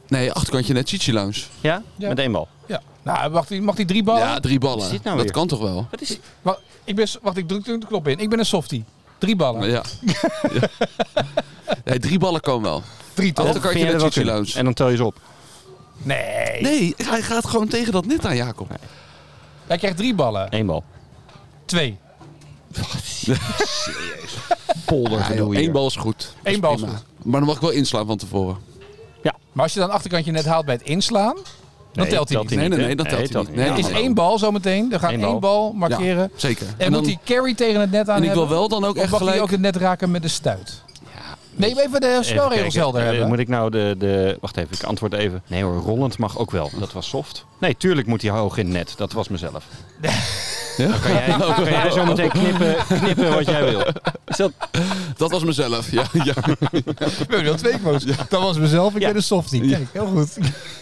Speaker 3: Nee, achterkantje net Chichi Lounge.
Speaker 2: Ja?
Speaker 1: Ja.
Speaker 2: Met één bal.
Speaker 1: Ja. Nou, mag die, mag die drie ballen?
Speaker 3: Ja, drie ballen.
Speaker 2: Wat is dit nou
Speaker 3: dat
Speaker 2: weer?
Speaker 3: kan toch wel?
Speaker 2: Wat is
Speaker 1: Wa- ik ben, s- wacht, ik druk de knop in. Ik ben een softie. Drie ballen.
Speaker 3: Ja. Ja. Nee, drie ballen kan wel.
Speaker 1: Drie toch?
Speaker 3: Achterkantje
Speaker 2: Vind jij dat wel
Speaker 3: net Chichi
Speaker 2: kunnen?
Speaker 3: Lounge.
Speaker 2: En dan tel je ze op.
Speaker 1: Nee.
Speaker 3: Nee, hij gaat gewoon tegen dat net aan, Jacob.
Speaker 1: Jij krijgt drie ballen.
Speaker 2: Eén bal.
Speaker 1: Twee.
Speaker 2: Polder
Speaker 3: Ja, joh,
Speaker 2: gedoe
Speaker 3: Eén
Speaker 2: hier.
Speaker 3: bal is goed. Dat is
Speaker 1: bal is
Speaker 3: prima.
Speaker 1: goed.
Speaker 3: Maar dan mag ik wel inslaan van tevoren.
Speaker 1: Maar als je dan achterkantje net haalt bij het inslaan, dan
Speaker 2: Nee,
Speaker 1: telt hij niet.
Speaker 2: telt
Speaker 3: Nee, nee, nee,
Speaker 2: hè?
Speaker 3: dat telt hij niet. Nee,
Speaker 2: Ja,
Speaker 1: Het is
Speaker 3: man.
Speaker 1: één bal zometeen. Er gaat
Speaker 2: Eén
Speaker 1: één
Speaker 2: bal.
Speaker 1: bal, markeren.
Speaker 3: Zeker.
Speaker 1: En, moet die carry tegen het net aan
Speaker 3: en ik wil
Speaker 1: hebben?
Speaker 3: wel dan ook
Speaker 1: Of
Speaker 3: echt
Speaker 1: mag hij
Speaker 3: gelijk...
Speaker 1: ook het net raken met de stuit? nee, maar even de
Speaker 2: Even
Speaker 1: spelregels
Speaker 2: kijken.
Speaker 1: helder
Speaker 2: Eh,
Speaker 1: hebben.
Speaker 2: Moet ik nou de, de... Wacht even, ik antwoord even. Nee hoor, rollend mag ook wel. Dat was soft. Nee, tuurlijk moet hij hoog in het net. Dat was mezelf. Dan kan jij, dan kan jij zo meteen knippen, knippen wat jij wil. Is dat...
Speaker 3: Dat was mezelf. Ja, ja.
Speaker 1: Ik ben wel twee quotes. Dat was mezelf, ik
Speaker 2: Ja.
Speaker 1: ben een softie. Kijk, heel goed.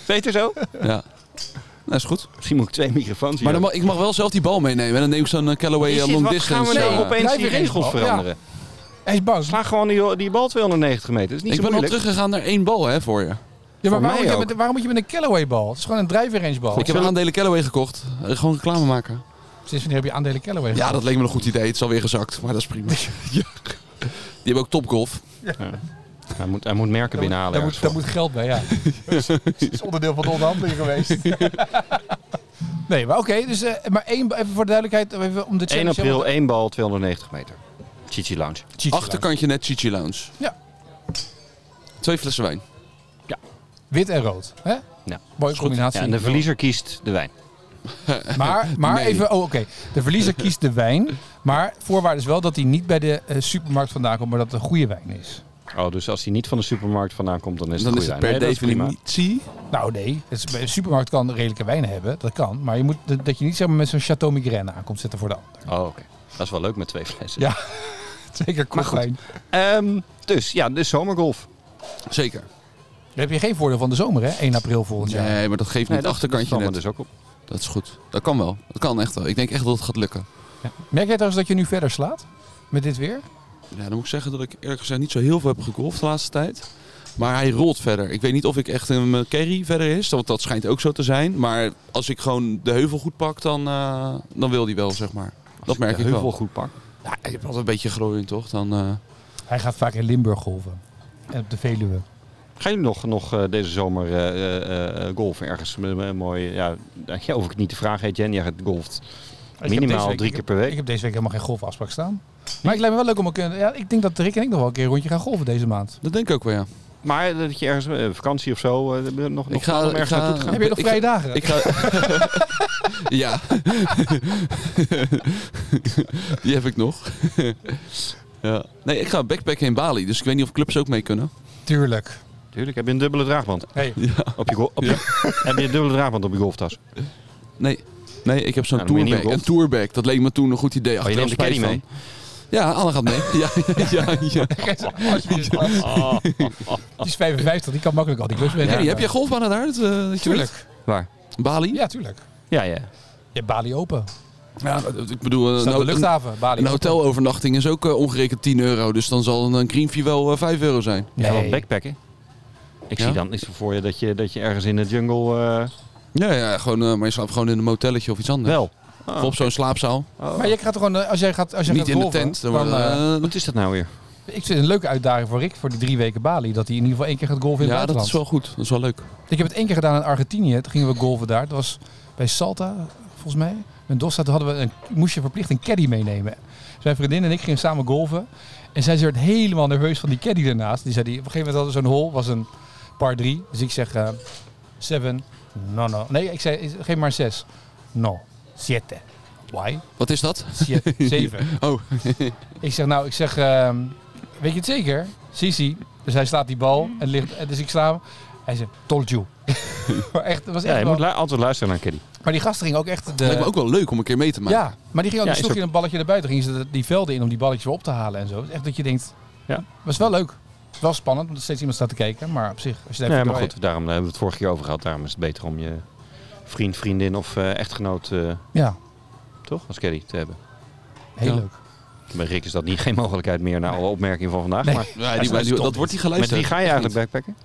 Speaker 2: Beter zo?
Speaker 3: ja. Dat is goed.
Speaker 2: Misschien moet ik twee microfoons
Speaker 3: Maar dan
Speaker 2: hier
Speaker 3: mag, ik mag wel zelf die bal meenemen. En dan neem ik zo'n eh, Callaway
Speaker 2: hebben. Is dit-
Speaker 3: eh, long
Speaker 2: wat
Speaker 3: distance.
Speaker 2: gaan we nou
Speaker 3: eh,
Speaker 2: opeens die
Speaker 1: Blijf je
Speaker 2: regels
Speaker 1: regel, ja.
Speaker 2: veranderen?
Speaker 1: Hij is bang.
Speaker 2: Sla gewoon die, die bal 290 meter. Dat is niet
Speaker 3: Ik
Speaker 2: zo
Speaker 3: ben al
Speaker 2: moeilijk.
Speaker 3: teruggegaan naar één bal hè, voor je.
Speaker 1: Ja, maar
Speaker 2: Voor
Speaker 1: waarom,
Speaker 2: mij
Speaker 1: moet je
Speaker 2: ook.
Speaker 1: met, waarom moet je met een Callaway bal? Het is gewoon een drijfverenge bal.
Speaker 3: Ik heb aandelen Callaway gekocht. Eh, Gewoon reclame maken.
Speaker 1: Sinds wanneer heb je aandelen Callaway?
Speaker 3: Ja, dat leek me een goed idee. Het is alweer gezakt, maar dat is prima. Die hebben ook topgolf.
Speaker 2: Hij moet, hij moet merken binnenhalen.
Speaker 1: Daar
Speaker 2: ergens
Speaker 1: moet, daar moet geld bij, ja. dat is onderdeel van de onderhandeling geweest. nee, maar oké. dus, eh, maar één, even voor de duidelijkheid. Even om de
Speaker 2: van. 1
Speaker 1: challenge helemaal-
Speaker 2: april, 1 bal, 290 meter. Chichi Lounge.
Speaker 1: Cheat
Speaker 3: Achterkantje net Chichi Lounge.
Speaker 1: Ja.
Speaker 3: Twee flessen wijn.
Speaker 1: Wit en rood. Hè?
Speaker 2: Ja.
Speaker 1: Mooie combinatie.
Speaker 2: Ja, en de verliezer kiest de wijn.
Speaker 1: Maar, maar
Speaker 3: Nee.
Speaker 1: even, oh oké. De verliezer kiest de wijn. Maar voorwaarde is wel dat hij niet bij de eh, supermarkt vandaan komt, maar dat het een goede wijn is.
Speaker 2: Oh, dus als hij niet van de supermarkt vandaan komt, dan is
Speaker 3: En
Speaker 2: het
Speaker 3: dan is
Speaker 2: goede wijn.
Speaker 3: het per
Speaker 2: Nee, dat is prima.
Speaker 3: definitie.
Speaker 1: Nou nee, het is- een supermarkt kan redelijke wijn hebben, dat kan. Maar je moet, dat dat je niet zeg maar, met zo'n Chateau Migraine aankomt zitten voor de ander.
Speaker 2: Oh, oké. Dat is wel leuk met twee flessen.
Speaker 1: Ja. Zeker
Speaker 2: Maar goed.
Speaker 1: kortwijn.
Speaker 2: Ehm, dus, ja, de zomergolf.
Speaker 3: Zeker.
Speaker 1: Daar heb je geen voordeel van de zomer, hè? 1 april volgend jaar.
Speaker 3: Nee, maar dat geeft
Speaker 2: Nee,
Speaker 3: niet.
Speaker 2: dat-
Speaker 3: achterkantje
Speaker 2: dat
Speaker 3: net.
Speaker 2: kwam er dus ook op.
Speaker 3: Dat is goed. Dat kan wel. Dat kan echt wel. Ik denk echt dat het gaat lukken.
Speaker 1: Merk jij trouwens dat je nu verder slaat? Met dit weer?
Speaker 3: Ja, dan moet ik zeggen dat ik eerlijk gezegd niet zo heel veel heb gegolfd de laatste tijd. Maar hij rolt verder. Ik weet niet of ik echt in mijn carry verder is. Want dat schijnt ook zo te zijn. Maar als ik gewoon de heuvel goed pak, dan, eh, dan wil hij wel, zeg maar. Dat merk
Speaker 2: De
Speaker 3: ik
Speaker 2: heuvel
Speaker 3: wel.
Speaker 2: goed pak.
Speaker 3: Ja, je hebt altijd een beetje glooiing, toch? Dan, eh,
Speaker 1: Hij gaat vaak in Limburg golven. En op de Veluwe.
Speaker 2: Gaan jullie nog, nog eh, deze zomer eh, eh, eh, golfen ergens? Met- met een mooi, ja, ja, hoef ik niet te vragen. Etienne, jij gaat golft minimaal drie keer per week.
Speaker 1: Ik heb deze week helemaal geen golfafspraak staan. Maar ik lijkt me wel leuk om een ja, Ik denk dat Rick en ik nog wel een keer een rondje gaan golven deze maand.
Speaker 3: dat denk ik ook wel, ja.
Speaker 2: Maar dat je ergens eh, vakantie of zo eh, nog, nog
Speaker 3: Ik ga-
Speaker 2: plan om
Speaker 3: ik
Speaker 2: ergens
Speaker 3: ga-
Speaker 2: naartoe te gaan.
Speaker 1: Heb je nog
Speaker 3: ik-
Speaker 1: vrije dagen?
Speaker 3: Ik ga... ja. Die heb ik nog. ja. Nee, ik ga backpacken in Bali. Dus ik weet niet of clubs ook mee kunnen.
Speaker 1: Tuurlijk.
Speaker 2: Tuurlijk, heb je een dubbele draagband
Speaker 1: Hey.
Speaker 2: op je, gol- op je- heb je een dubbele draagband op je golftas?
Speaker 3: Nee. Nee, ik heb zo'n
Speaker 2: Nou, dan moet je niet
Speaker 3: tourbag. Een
Speaker 2: rond.
Speaker 3: tourbag, dat leek me toen een goed idee.
Speaker 2: Oh, je
Speaker 3: Achteraf
Speaker 2: neemt de caddy
Speaker 3: spijt
Speaker 2: mee.
Speaker 3: van. Ja, Anne gaat mee. ja, ja, ja.
Speaker 1: Die is 55, die kan makkelijk al die clubs weten.
Speaker 3: Hey, heb jij golfbanen daar? Dat, eh, dat je weet?
Speaker 1: Tuurlijk.
Speaker 2: Waar?
Speaker 3: Bali?
Speaker 1: Ja, tuurlijk.
Speaker 2: nou. Ja, ja.
Speaker 1: Je hebt Bali open.
Speaker 3: Ja, dat- ik bedoel, eh,
Speaker 1: Staat
Speaker 3: een,
Speaker 1: op de
Speaker 3: een,
Speaker 1: luchthaven, Bali.
Speaker 3: een hotelovernachting is ook eh, ongerekend 10 euro. Dus dan zal een, een greenfee wel eh, 5 euro zijn.
Speaker 2: Ja, want
Speaker 1: Nee.
Speaker 2: backpacken. Ik
Speaker 3: Ja?
Speaker 2: zie dan iets voor je dat je, dat je ergens in de jungle... eh,
Speaker 3: Ja, ja gewoon, eh, maar je slaapt gewoon in een motelletje of iets anders.
Speaker 2: Wel.
Speaker 3: Of op zo'n slaapzaal.
Speaker 1: Maar je gaat toch gewoon, eh, als jij gaat, als jij
Speaker 3: Niet
Speaker 1: gaat
Speaker 3: in de
Speaker 1: golven,
Speaker 3: tent. Dan
Speaker 1: dan,
Speaker 3: maar,
Speaker 1: eh,
Speaker 3: eh,
Speaker 2: Wat is dat nou weer?
Speaker 1: ik vind het een leuke uitdaging voor Rick voor die drie weken Bali. Dat hij in ieder geval één keer gaat golven in
Speaker 3: ja,
Speaker 1: het
Speaker 3: dat
Speaker 1: buitenland.
Speaker 3: is wel goed. Dat is wel leuk.
Speaker 1: Ik heb het één keer gedaan in Argentinië. Toen gingen we golven daar. Dat was bij Salta, volgens mij. Mendoza, toen hadden we een, moest je verplicht een caddy meenemen. Dus mijn vriendin en ik gingen samen golven. En zij werd helemaal nerveus van die caddy ernaast. Die zei, die, op een gegeven moment hadden we zo'n hole, was een par 3. Dus ik zeg, eh, seven, no, no. Nee, ik zei, geef maar zes. No, siete. Why?
Speaker 3: Wat is dat?
Speaker 1: Ze- Zeven.
Speaker 3: Oh.
Speaker 1: ik zeg, nou, ik zeg, ehm, weet je het zeker? Sisi. Dus hij slaat die bal en ligt, en dus ik sla hem. Hij zegt, told you. maar echt, het was
Speaker 2: Ja,
Speaker 1: echt
Speaker 2: je
Speaker 1: wel-
Speaker 2: moet lu- altijd luisteren naar Kelly.
Speaker 1: Maar die gasten gingen ook echt... De,
Speaker 3: Lijkt me ook wel leuk om een keer mee te maken.
Speaker 1: ja, maar die gingen ook
Speaker 2: Ja,
Speaker 1: een
Speaker 2: is
Speaker 1: stokje en een balletje naar buiten. Gingen ze de- die velden in om die balletjes weer op te halen en zo. Dus echt dat je denkt,
Speaker 2: Ja.
Speaker 1: was wel leuk. Het was spannend, omdat er steeds iemand staat te kijken. Maar op zich, als je daar
Speaker 2: Ja,
Speaker 1: even
Speaker 2: maar
Speaker 1: door-
Speaker 2: goed, daarom daar hebben we het vorige keer over gehad. Daarom is het beter om je vriend, vriendin of eh, echtgenoot, eh,
Speaker 1: Ja,
Speaker 2: toch, als Kelly te hebben.
Speaker 1: heel
Speaker 3: Ja.
Speaker 1: leuk.
Speaker 2: Bij Rick is dat niet geen mogelijkheid meer na alle opmerkingen van vandaag.
Speaker 1: Nee.
Speaker 2: Maar
Speaker 3: Ja, die-
Speaker 2: is
Speaker 3: die-
Speaker 2: stom.
Speaker 3: dat wordt die
Speaker 2: met
Speaker 3: geluisterd.
Speaker 2: wie ga je eigenlijk backpacken?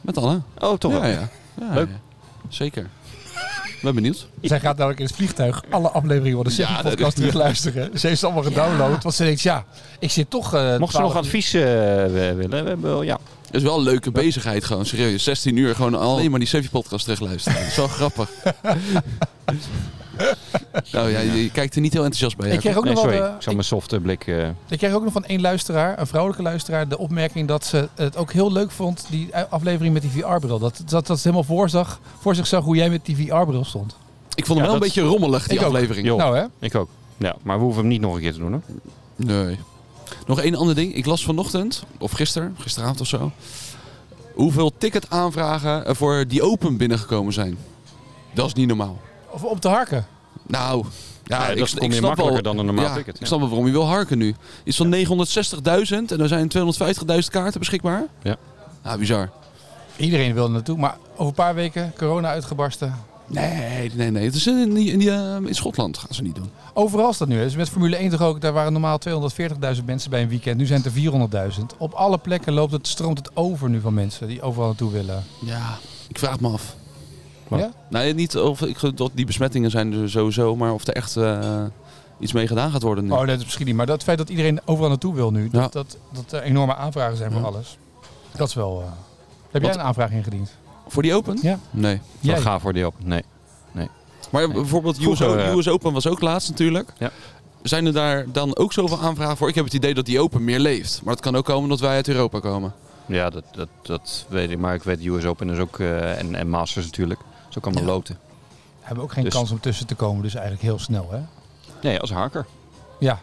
Speaker 3: Met Anne.
Speaker 2: Oh, toch wel.
Speaker 3: Ja, ja. Ja,
Speaker 2: Leuk.
Speaker 3: ja. Zeker. Ben benieuwd.
Speaker 1: Zij gaat namelijk in het vliegtuig alle afleveringen van de
Speaker 3: Ja,
Speaker 1: Seppie
Speaker 3: dat-
Speaker 1: podcast terugluisteren. Ze heeft ze allemaal gedownload, want ze denkt, ja, ik zit toch... eh,
Speaker 2: Mocht ze nog
Speaker 1: 12
Speaker 2: advies eh, willen, we hebben wel- ja.
Speaker 3: Het is wel een leuke bezigheid gewoon. Serieus, 16 uur gewoon alleen maar die Sevi podcast terugluisteren. Dat is wel grappig. nou ja, je, je kijkt er niet heel enthousiast bij.
Speaker 1: Ik kreeg ook
Speaker 2: Nee,
Speaker 1: nog wel...
Speaker 2: sorry,
Speaker 1: de-
Speaker 2: ik zal mijn softe blik... eh,
Speaker 1: Ik kreeg ook nog van één luisteraar, een vrouwelijke luisteraar, de opmerking dat ze het ook heel leuk vond, die aflevering met die VR-bril. Dat, dat, dat ze helemaal voor, zag, voor zich zag hoe jij met die VR-bril stond.
Speaker 3: Ik vond hem
Speaker 2: Ja,
Speaker 3: wel een
Speaker 2: dat-
Speaker 3: beetje rommelig, die
Speaker 1: Ik ook.
Speaker 3: aflevering.
Speaker 2: joh,
Speaker 1: Nou hè?
Speaker 2: ik ook. Ja, maar we hoeven hem niet nog een keer te doen, hoor.
Speaker 3: Nee. Nog één ander ding. Ik las vanochtend, of gisteren, gisteravond of zo, hoeveel ticketaanvragen er voor die open binnengekomen zijn. Dat is niet normaal.
Speaker 1: Of om te harken.
Speaker 3: Nou, ja,
Speaker 2: Ja,
Speaker 3: ik,
Speaker 2: dat
Speaker 3: ik
Speaker 2: kom je
Speaker 3: snap
Speaker 2: makkelijker
Speaker 3: wel,
Speaker 2: dan een normaal
Speaker 3: ja,
Speaker 2: ticket.
Speaker 3: Ik
Speaker 2: Ja.
Speaker 3: snap wel waarom je wil harken nu. Iets van 960.000 en er zijn 250.000 kaarten beschikbaar.
Speaker 2: Ja.
Speaker 3: Ah, bizar.
Speaker 1: Iedereen wil er naartoe, maar over een paar weken corona uitgebarsten.
Speaker 3: Nee, nee, nee. Het is in, die- in, die, eh, in Schotland gaan ze niet doen.
Speaker 1: Overal is dat nu. hè. Dus met Formule 1 toch ook, daar waren normaal 240.000 mensen bij een weekend. Nu zijn het er 400.000. Op alle plekken loopt het, stroomt het over nu van mensen die overal naartoe willen.
Speaker 3: Ja, ik vraag me af.
Speaker 2: Wat?
Speaker 1: Ja?
Speaker 3: Nou, niet of ik, dat die besmettingen zijn er sowieso, maar of er echt eh, iets mee gedaan gaat worden nu.
Speaker 1: Oh, dat is misschien niet. Maar dat het feit dat iedereen overal naartoe wil nu, dat, dat, dat er enorme aanvragen zijn voor
Speaker 3: Ja.
Speaker 1: alles. Dat is wel... eh, Heb jij
Speaker 3: Want-
Speaker 1: een aanvraag ingediend?
Speaker 3: Voor die Open?
Speaker 1: Ja.
Speaker 3: Nee.
Speaker 2: Dan
Speaker 1: Jij?
Speaker 2: ga voor die op. Nee.
Speaker 3: Maar
Speaker 2: Nee.
Speaker 3: bijvoorbeeld US,
Speaker 2: Vroeger, eh,
Speaker 3: US Open was ook laatst natuurlijk.
Speaker 2: Ja.
Speaker 3: Zijn er daar dan ook zoveel aanvragen voor? Ik heb het idee dat die Open meer leeft. Maar dat kan ook komen omdat wij uit Europa komen.
Speaker 2: Ja, dat, dat, dat weet ik. Maar ik weet US Open is ook, eh, en, en Masters natuurlijk. Zo kan
Speaker 3: Ja.
Speaker 2: allemaal loten.
Speaker 1: Hebben we ook geen
Speaker 2: Dus-
Speaker 1: kans om tussen te komen, dus eigenlijk heel snel, hè?
Speaker 2: Nee, als haker.
Speaker 1: Ja.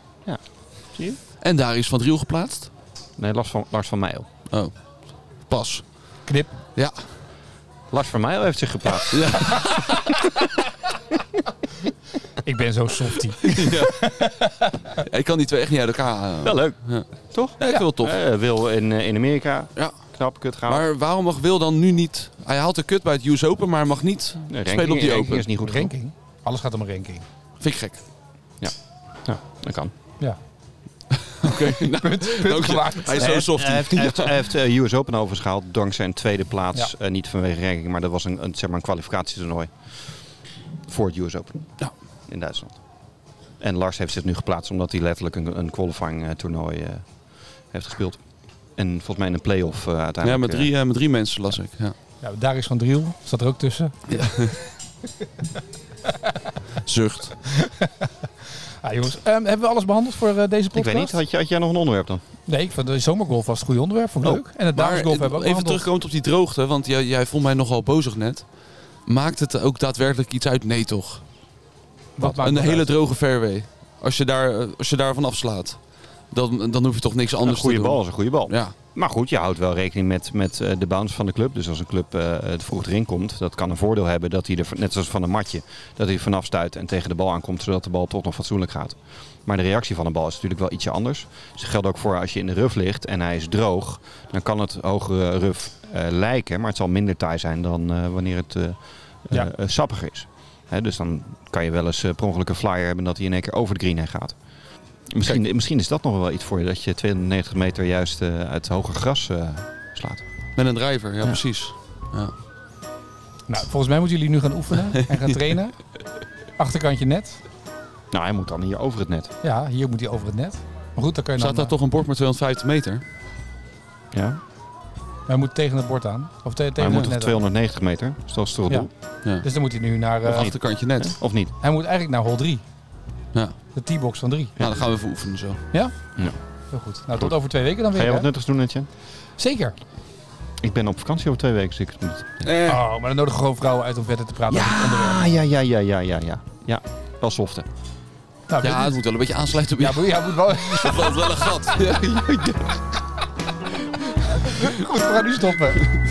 Speaker 2: Zie je?
Speaker 3: En daar is Van Driel geplaatst. Oh.
Speaker 2: Nee, Lars van, Lars van Meijl.
Speaker 3: Pas.
Speaker 1: Knip.
Speaker 3: Ja.
Speaker 2: Lars van Meijl heeft zich geplaatst.
Speaker 1: Ik ben zo softie.
Speaker 3: Ik kan die twee echt niet uit elkaar eh. halen.
Speaker 2: Wel leuk.
Speaker 3: Toch? Ja, ik wil het tof.
Speaker 2: Eh, Wil in, eh, in Amerika.
Speaker 3: Ja.
Speaker 2: Knap, kut gaan.
Speaker 3: Maar waarom mag Wil dan nu niet... Hij haalt de kut bij het US Open, maar hij mag niet spelen op die Open.
Speaker 2: is niet goed genoeg.
Speaker 1: ranking. Alles gaat om een ranking.
Speaker 3: Vind ik gek.
Speaker 2: Ja, dat kan.
Speaker 1: Ja.
Speaker 3: Oké, nou, dank je.
Speaker 1: gemaakt.
Speaker 3: Hij is zo soft.
Speaker 2: Hij heeft, hij heeft, hij heeft, eh, US Open overschaald dankzij een tweede plaats. Eh, niet vanwege ranking, maar dat was een, een, zeg maar een kwalificatietoernooi. Voor het US Open.
Speaker 3: Ja.
Speaker 2: In Duitsland. En Lars heeft zich nu geplaatst omdat hij letterlijk een, een qualifying eh, toernooi eh, heeft gespeeld. En volgens mij in een play-off eh,
Speaker 3: Ja,
Speaker 2: uiteindelijk.
Speaker 3: met drie, eh, met drie mensen las ik. Ja.
Speaker 1: Ja, daar is Van Driel. Staat er ook tussen.
Speaker 3: Zucht.
Speaker 1: Ah, jongens, ehm, hebben we alles behandeld voor eh, deze
Speaker 2: eh, ik
Speaker 1: podcast?
Speaker 2: weet niet, had, je, had jij nog een onderwerp dan?
Speaker 1: Nee, ik vond de zomergolf was het goede onderwerp. Vond ik
Speaker 2: Oh.
Speaker 1: leuk. En het
Speaker 3: Maar
Speaker 1: damesgolf hebben we ook
Speaker 3: even
Speaker 1: behandeld.
Speaker 3: terugkomend op die droogte, want jij, jij vond mij nogal bozig net. Maakt het ook daadwerkelijk iets uit? Nee toch?
Speaker 1: Wat maakt
Speaker 3: een
Speaker 1: het
Speaker 3: hele
Speaker 1: uit?
Speaker 3: droge fairway. Als je, daar, eh, als je daarvan afslaat, dan, dan hoef je toch niks
Speaker 2: Een
Speaker 3: anders te
Speaker 2: goede
Speaker 3: doen.
Speaker 2: bal is een goede bal.
Speaker 3: Ja,
Speaker 2: Maar goed, je houdt wel rekening met, met eh, de bounce van de club. Dus als een club eh, het vroeg erin komt, dat kan een voordeel hebben dat hij er, net zoals van een matje, dat hij er vanaf stuit en tegen de bal aankomt, zodat de bal toch nog fatsoenlijk gaat. Maar de reactie van de bal is natuurlijk wel ietsje anders. Dus dat geldt ook voor als je in de ruf ligt en hij is droog, dan kan het hogere ruf eh, lijken, maar het zal minder taai zijn dan eh, wanneer het eh, eh,
Speaker 1: Ja.
Speaker 2: eh, sappig is. Hè, dus dan kan je wel eens eh, per ongeluk een flyer hebben dat hij in één keer over de green heen gaat. Misschien, misschien is dat nog wel iets voor je, dat je 290 meter juist eh, uit hoger gras eh, slaat.
Speaker 3: met een driver, ja,
Speaker 2: Ja.
Speaker 3: precies.
Speaker 1: Nou, volgens mij moeten jullie nu gaan oefenen en gaan trainen. Achterkantje net.
Speaker 2: Nou, hij moet dan hier over het net.
Speaker 1: Ja, hier moet hij over het net. Maar goed, dan kan je
Speaker 3: Staat
Speaker 1: dan...
Speaker 3: daar toch een bord met 250 meter?
Speaker 2: Ja.
Speaker 1: eh, Hij moet tegen het bord aan. Of te- tegen
Speaker 2: hij
Speaker 1: het
Speaker 2: moet op
Speaker 1: net aan.
Speaker 2: 290 meter, dus dat is toch het
Speaker 1: Ja.
Speaker 2: doel?
Speaker 1: Dus dan moet hij nu naar... eh,
Speaker 3: Of achterkantje net?
Speaker 2: Of niet?
Speaker 1: Hij moet eigenlijk naar hol 3.
Speaker 3: Ja.
Speaker 1: De T-box van 3.
Speaker 3: Nou, dan gaan we even oefenen zo.
Speaker 1: Heel goed. Nou, tot over twee weken dan
Speaker 2: Ga
Speaker 1: weer.
Speaker 2: jij wat
Speaker 1: hè?
Speaker 2: nuttigs doen, Netje?
Speaker 1: Zeker.
Speaker 2: Ik ben op vakantie over twee weken, dus ik moet...
Speaker 1: Oh, maar dan nodigen we gewoon vrouwen uit om verder te praten over het onderwerp.
Speaker 2: Ah, ja, ja, ja, ja, ja, ja. Ja, wel softe.
Speaker 1: Nou, weet
Speaker 3: Ja,
Speaker 1: niet.
Speaker 3: het moet wel een beetje aansluiten op
Speaker 1: ja,
Speaker 3: jou.
Speaker 1: moet- ja, moet wel.
Speaker 3: Ja, valt wel een gat. Ja,
Speaker 1: Goed, we gaan nu stoppen.